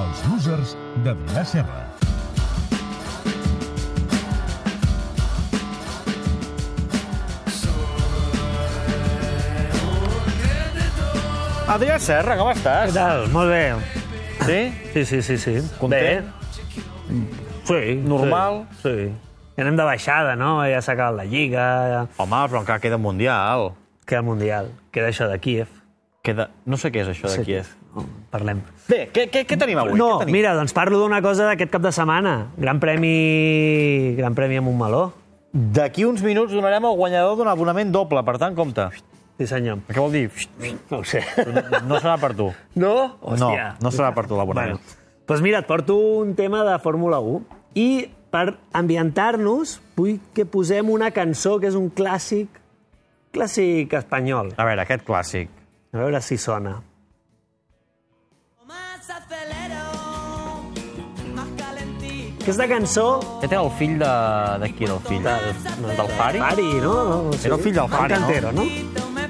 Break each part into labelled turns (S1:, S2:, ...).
S1: Comerç, Gabriel Serra.
S2: Adrià Serra, com
S3: Què
S2: estàs?
S3: tal? Molt bé.
S2: Sí?
S3: Sí, sí, sí, sí.
S2: Content?
S3: Bé. Sí.
S2: Normal?
S3: Sí. sí. Ja anem de baixada, no? Ja s'ha acabat la Lliga, ja
S2: Home, però encara queda Mundial.
S3: queda el Mundial, queda això de Kiev.
S2: Queda... No sé què és això de
S3: Sí.
S2: Kiev.
S3: No, parlem.
S2: Bé, què, què, què tenim avui?
S3: no,
S2: què tenim?
S3: mira, doncs parlo d'una cosa d'aquest cap de setmana. Gran premi... Gran premi a Montmeló.
S2: D'aquí uns minuts donarem el guanyador d'un abonament doble, per tant, compte.
S3: Sí, senyor.
S2: Què vol dir?
S3: No ho sé.
S2: No serà per tu.
S3: No?
S2: No, no serà per tu l'abonament.
S3: Bueno, doncs mira, et porto un tema de Fórmula 1 i per ambientar-nos vull que posem una cançó que és un clàssic clàssic espanyol.
S2: A veure, aquest clàssic.
S3: A veure si sona.
S4: Más acelero, más calentito.
S3: Aquesta cançó...
S2: Aquest era el fill de... De qui era el fill? Del Fari?
S3: Fari, no? no sí.
S2: Era el fill del
S3: Van
S2: Fari, no?
S3: Cantero, no?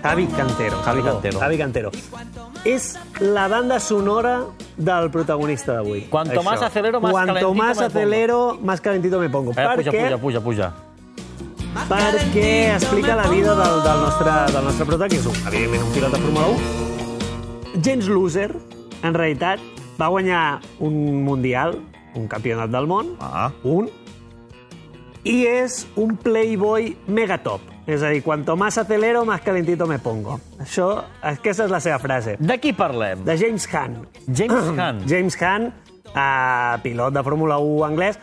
S3: Javi Cantero.
S2: Javi
S3: perdó,
S2: Cantero.
S3: Javi Cantero. És la banda sonora del protagonista d'avui.
S2: Cuanto
S3: Això.
S2: más acelero, más calentito
S3: Cuanto más
S2: me pongo.
S3: acelero, más calentito me pongo.
S2: Eh, puja,
S3: Perquè-
S2: puja, puja, puja.
S3: perquè explica la vida del, del, nostre, del nostre prota, que és, un, evidentment, un pilot de Fórmula 1. Gens loser, en realitat, va guanyar un Mundial, un campionat del món,
S2: Ah.
S3: un, i és un playboy megatop. És a dir, cuanto más acelero, más calentito me pongo. Això, aquesta és la seva frase.
S2: De qui parlem?
S3: De James Hunt,
S2: James Hunt.
S3: James Hunt, eh, pilot de Fórmula 1 anglès,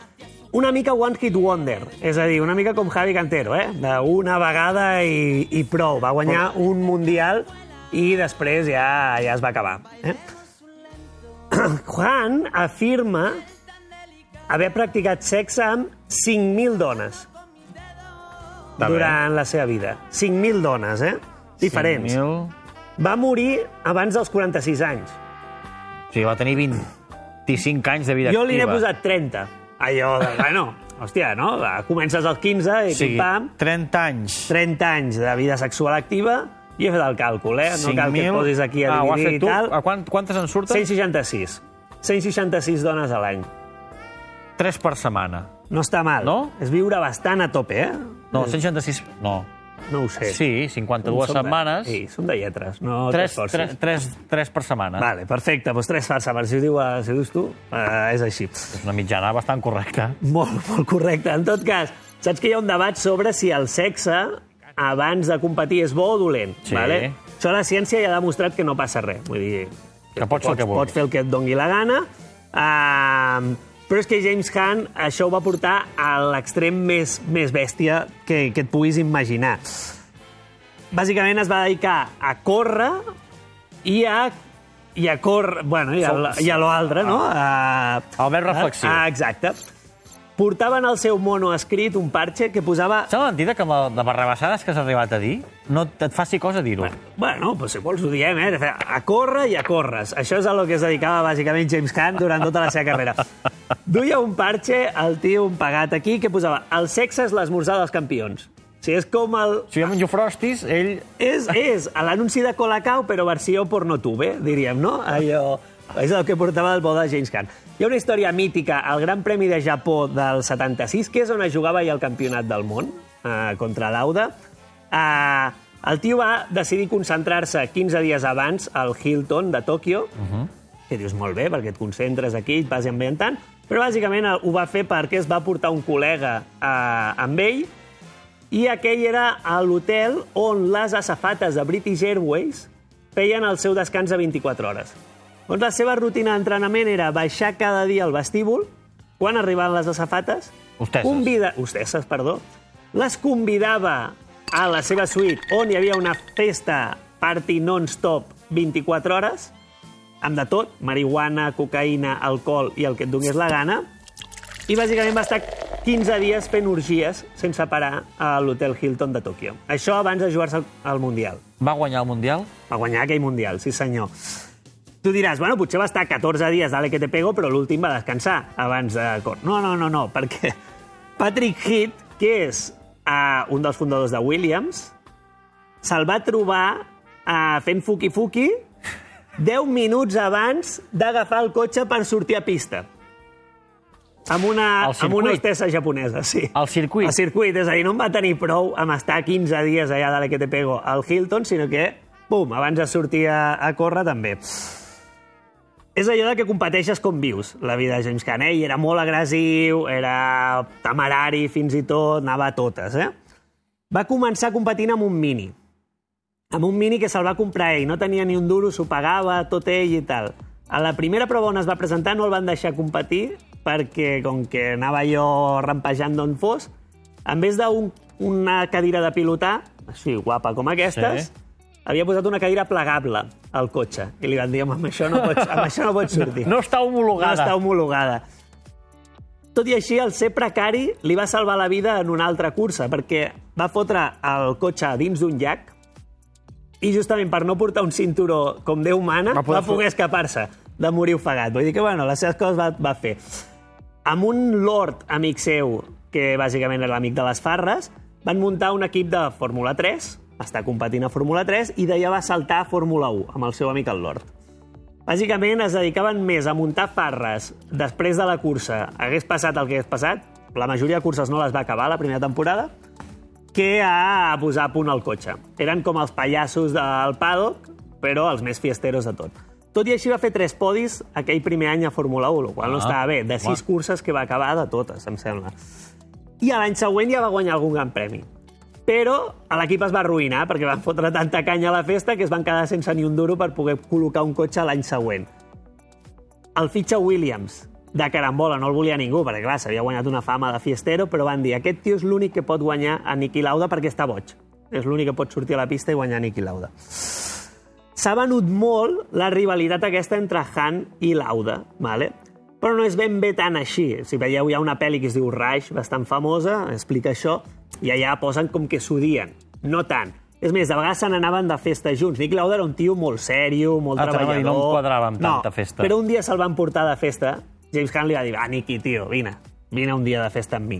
S3: una mica one hit wonder, és a dir, una mica com Javi Cantero, eh? d'una vegada i, i prou. Va guanyar un Mundial i després ja, ja es va acabar. Eh? Juan afirma haver practicat sexe amb 5.000 dones
S2: bé.
S3: durant la seva vida. 5.000 dones, eh? Diferents.
S2: 5.000.
S3: Va morir abans dels 46 anys.
S2: O sigui, va tenir 25 anys de vida
S3: Jo
S2: activa.
S3: li n'he posat 30. Allò de, bueno, hòstia, no? Va, Comences als 15 i
S2: O sigui,
S3: pim-pam,
S2: 30 anys.
S3: 30 anys de vida sexual activa, i he fet el càlcul, eh? No cal que
S2: 5.000.
S3: et posis aquí a
S2: ah, ho has fet
S3: dividir i
S2: tu?
S3: tal.
S2: A quant, quantes en surten?
S3: 166. 166 dones a l'any.
S2: 3 per setmana.
S3: No està mal.
S2: No?
S3: És viure bastant a tope, eh?
S2: No, 166... No.
S3: No ho sé.
S2: Sí, 52
S3: Som de-
S2: setmanes.
S3: Sí, som de lletres, no
S2: 3,
S3: t'esforcis.
S2: 3, 3, 3 per setmana.
S3: Vale, perfecte, doncs tres farsa, per si ho, diu, si ho dius tu, eh, és així.
S2: És una mitjana bastant correcta.
S3: Molt, molt correcte. En tot cas, saps que hi ha un debat sobre si el sexe abans de competir és bo o dolent.
S2: Sí.
S3: Vale? Això la ciència ja ha demostrat que no passa res. Vull dir,
S2: Que pots fer el que vulguis.
S3: pots fer el que et dongui la gana. Uh, però és que James Hunt això ho va portar a l'extrem més, més bèstia que, que et puguis imaginar. Bàsicament es va dedicar a córrer i a i a córrer, bueno, i a, la- i a lo altre, no? A,
S2: El verb Eh? reflexiu.
S3: Ah, exacte. Portaven al seu mono escrit un parxe que posava...
S2: Sembla mentida que amb la, de barrabassades que has arribat a dir no et faci cosa dir-ho.
S3: Bueno, pues si vols ho diem, eh? De fer A córrer i a corres. Això és a lo que es dedicava bàsicament James Hunt durant tota la seva carrera. Duia un parxe, el tio un pagat aquí, que posava el sexe és l'esmorzar dels campions. O sigui, és com el...
S2: Si jo menjo frostis, ell...
S3: És, és a l'anunci de Colacao, però versió pornotube, diríem, no? Allò... És el que portava el bo de James Hunt. Hi ha una història mítica al Gran Premi de Japó del 76, que és on es jugava ja el campionat del món, eh, contra l'Auda. Eh, el tio va decidir concentrar-se 15 dies abans al Hilton de Tòquio, uh -huh. que dius molt bé, perquè et concentres aquí, et vas ambientant, però bàsicament eh, ho va fer perquè es va portar un col·lega eh, amb ell, i aquell era a l'hotel on les asafates de British Airways feien el seu descans de 24 hores. Doncs la seva rutina d'entrenament era baixar cada dia al vestíbul, quan arribaven les asafates...
S2: Hostesses.
S3: Convida... Hostesses, perdó. Les convidava a la seva suite, on hi havia una festa party non-stop 24 hores, amb de tot, marihuana, cocaïna, alcohol i el que et donés la gana, i bàsicament va estar 15 dies fent orgies sense parar a l'hotel Hilton de Tòquio. Això abans de jugar-se al, al Mundial.
S2: Va guanyar el Mundial?
S3: Va guanyar aquell Mundial, sí senyor. Tu diràs, bueno, potser va estar 14 dies dale que te pego, però l'últim va descansar abans de... cor. No, no, no, no, perquè Patrick Heath, que és uh, un dels fundadors de Williams, se'l va trobar uh, fent fuki-fuki 10 minuts abans d'agafar el cotxe per sortir a pista. amb una,
S2: Al
S3: amb una
S2: circuit.
S3: hostessa japonesa, sí.
S2: Al circuit.
S3: Al circuit, és a dir, no en va tenir prou amb estar 15 dies allà de la que te pego al Hilton, sinó que, pum, abans de sortir a, a córrer també. És allò de que competeixes com vius, la vida de James Caan, eh? I era molt agressiu, era temerari fins i tot, anava a totes, eh? Va començar competint amb un mini, amb un mini que se'l va comprar ell, no tenia ni un duro, s'ho pagava, tot ell i tal. A la primera prova on es va presentar no el van deixar competir perquè, com que anava jo rampejant d'on fos, en vez d'una una cadira de pilotar, així guapa com aquestes,
S2: Sí.
S3: sí. havia posat una cadira plegable al cotxe. I li van dir, home, amb això no pots, amb això no pots sortir.
S2: No està
S3: no
S2: homologada.
S3: està homologada. Tot i així, el ser precari li va salvar la vida en una altra cursa, perquè va fotre el cotxe dins d'un llac i justament per no portar un cinturó com Déu mana, va,
S1: Va poder
S3: va poder escapar-se de morir ofegat. Vull dir que, bueno, les seves coses va, va fer. Amb un lord amic seu, que bàsicament era l'amic de les farres, van muntar un equip de Fórmula 3, està competint a Fórmula 3, i d'allà va saltar a Fórmula 1 amb el seu amic el lord. Bàsicament es dedicaven més a muntar farres després de la cursa. Hagués passat el que hagués passat, la majoria de curses no les va acabar la primera temporada, que a posar a punt el cotxe. Eren com els pallassos del paddock, però els més fiesteros de tot. Tot i així va fer tres podis aquell primer any a Fórmula 1, el qual no
S2: Ah,
S3: estava bé. De sis
S2: home.
S3: curses que va acabar de totes, em sembla. I a l'any següent ja va guanyar algun gran premi. Però a l'equip es va arruïnar perquè van fotre tanta canya a la festa que es van quedar sense ni un duro per poder col·locar un cotxe l'any següent. El fitxa Williams, de carambola, no el volia ningú, perquè clar, s'havia guanyat una fama de fiestero, però van dir, aquest tio és l'únic que pot guanyar a Niki Lauda perquè està boig. És l'únic que pot sortir a la pista i guanyar a Niki Lauda. S'ha venut molt la rivalitat aquesta entre Han i Lauda, vale? però no és ben bé tan així. Si veieu, hi ha una pel·li que es diu Rush, bastant famosa, explica això, i allà posen com que s'odien. No tant. És més, de vegades se n'anaven de festa junts. Nick Lauda era un tio molt sèrio, molt
S2: Ah, t'anava a
S3: treballador...
S2: dir, no em quadrava amb
S3: no,
S2: tanta festa.
S3: però un dia se'l van portar de festa. James Caan li va dir, ah, Nicky, tio, vine, vine un dia de festa amb mi.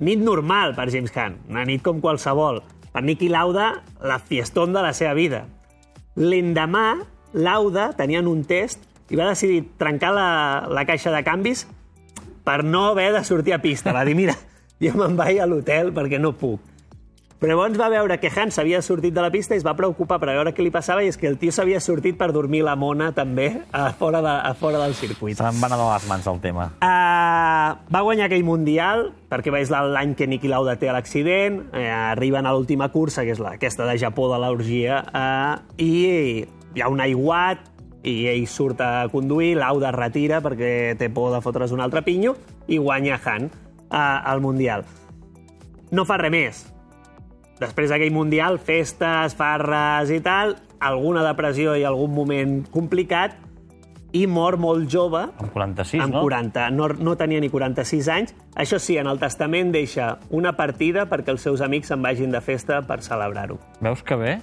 S3: Nit normal per James Caan, una nit com qualsevol. Per Nicky Lauda, la fiestón de la seva vida. L'endemà, Lauda tenien un test i va decidir trencar la, la caixa de canvis per no haver de sortir a pista. Va dir, mira, jo me'n vaig a l'hotel perquè no puc. Però llavors va veure que Hans havia sortit de la pista i es va preocupar per veure què li passava i és que el tio s'havia sortit per dormir la mona també a fora, de, a fora del circuit.
S2: Se'n van a les mans el tema.
S3: Uh, va guanyar aquell Mundial, perquè va és l'any que Niki Lauda té l'accident, uh, arriben a l'última cursa, que és la, aquesta de Japó de l'orgia, uh, i hi ha un aiguat, i ell surt a conduir, Lauda es retira perquè té por de fotre's un altre pinyo, i guanya Han uh, al Mundial. No fa res més. Després d'aquell Mundial, festes, farres i tal, alguna depressió i algun moment complicat, i mor molt jove,
S2: Amb 46,
S3: amb
S2: no?
S3: 40, no, no tenia ni 46 anys. Això sí, en el testament deixa una partida perquè els seus amics se'n vagin de festa per celebrar-ho.
S2: Veus que bé?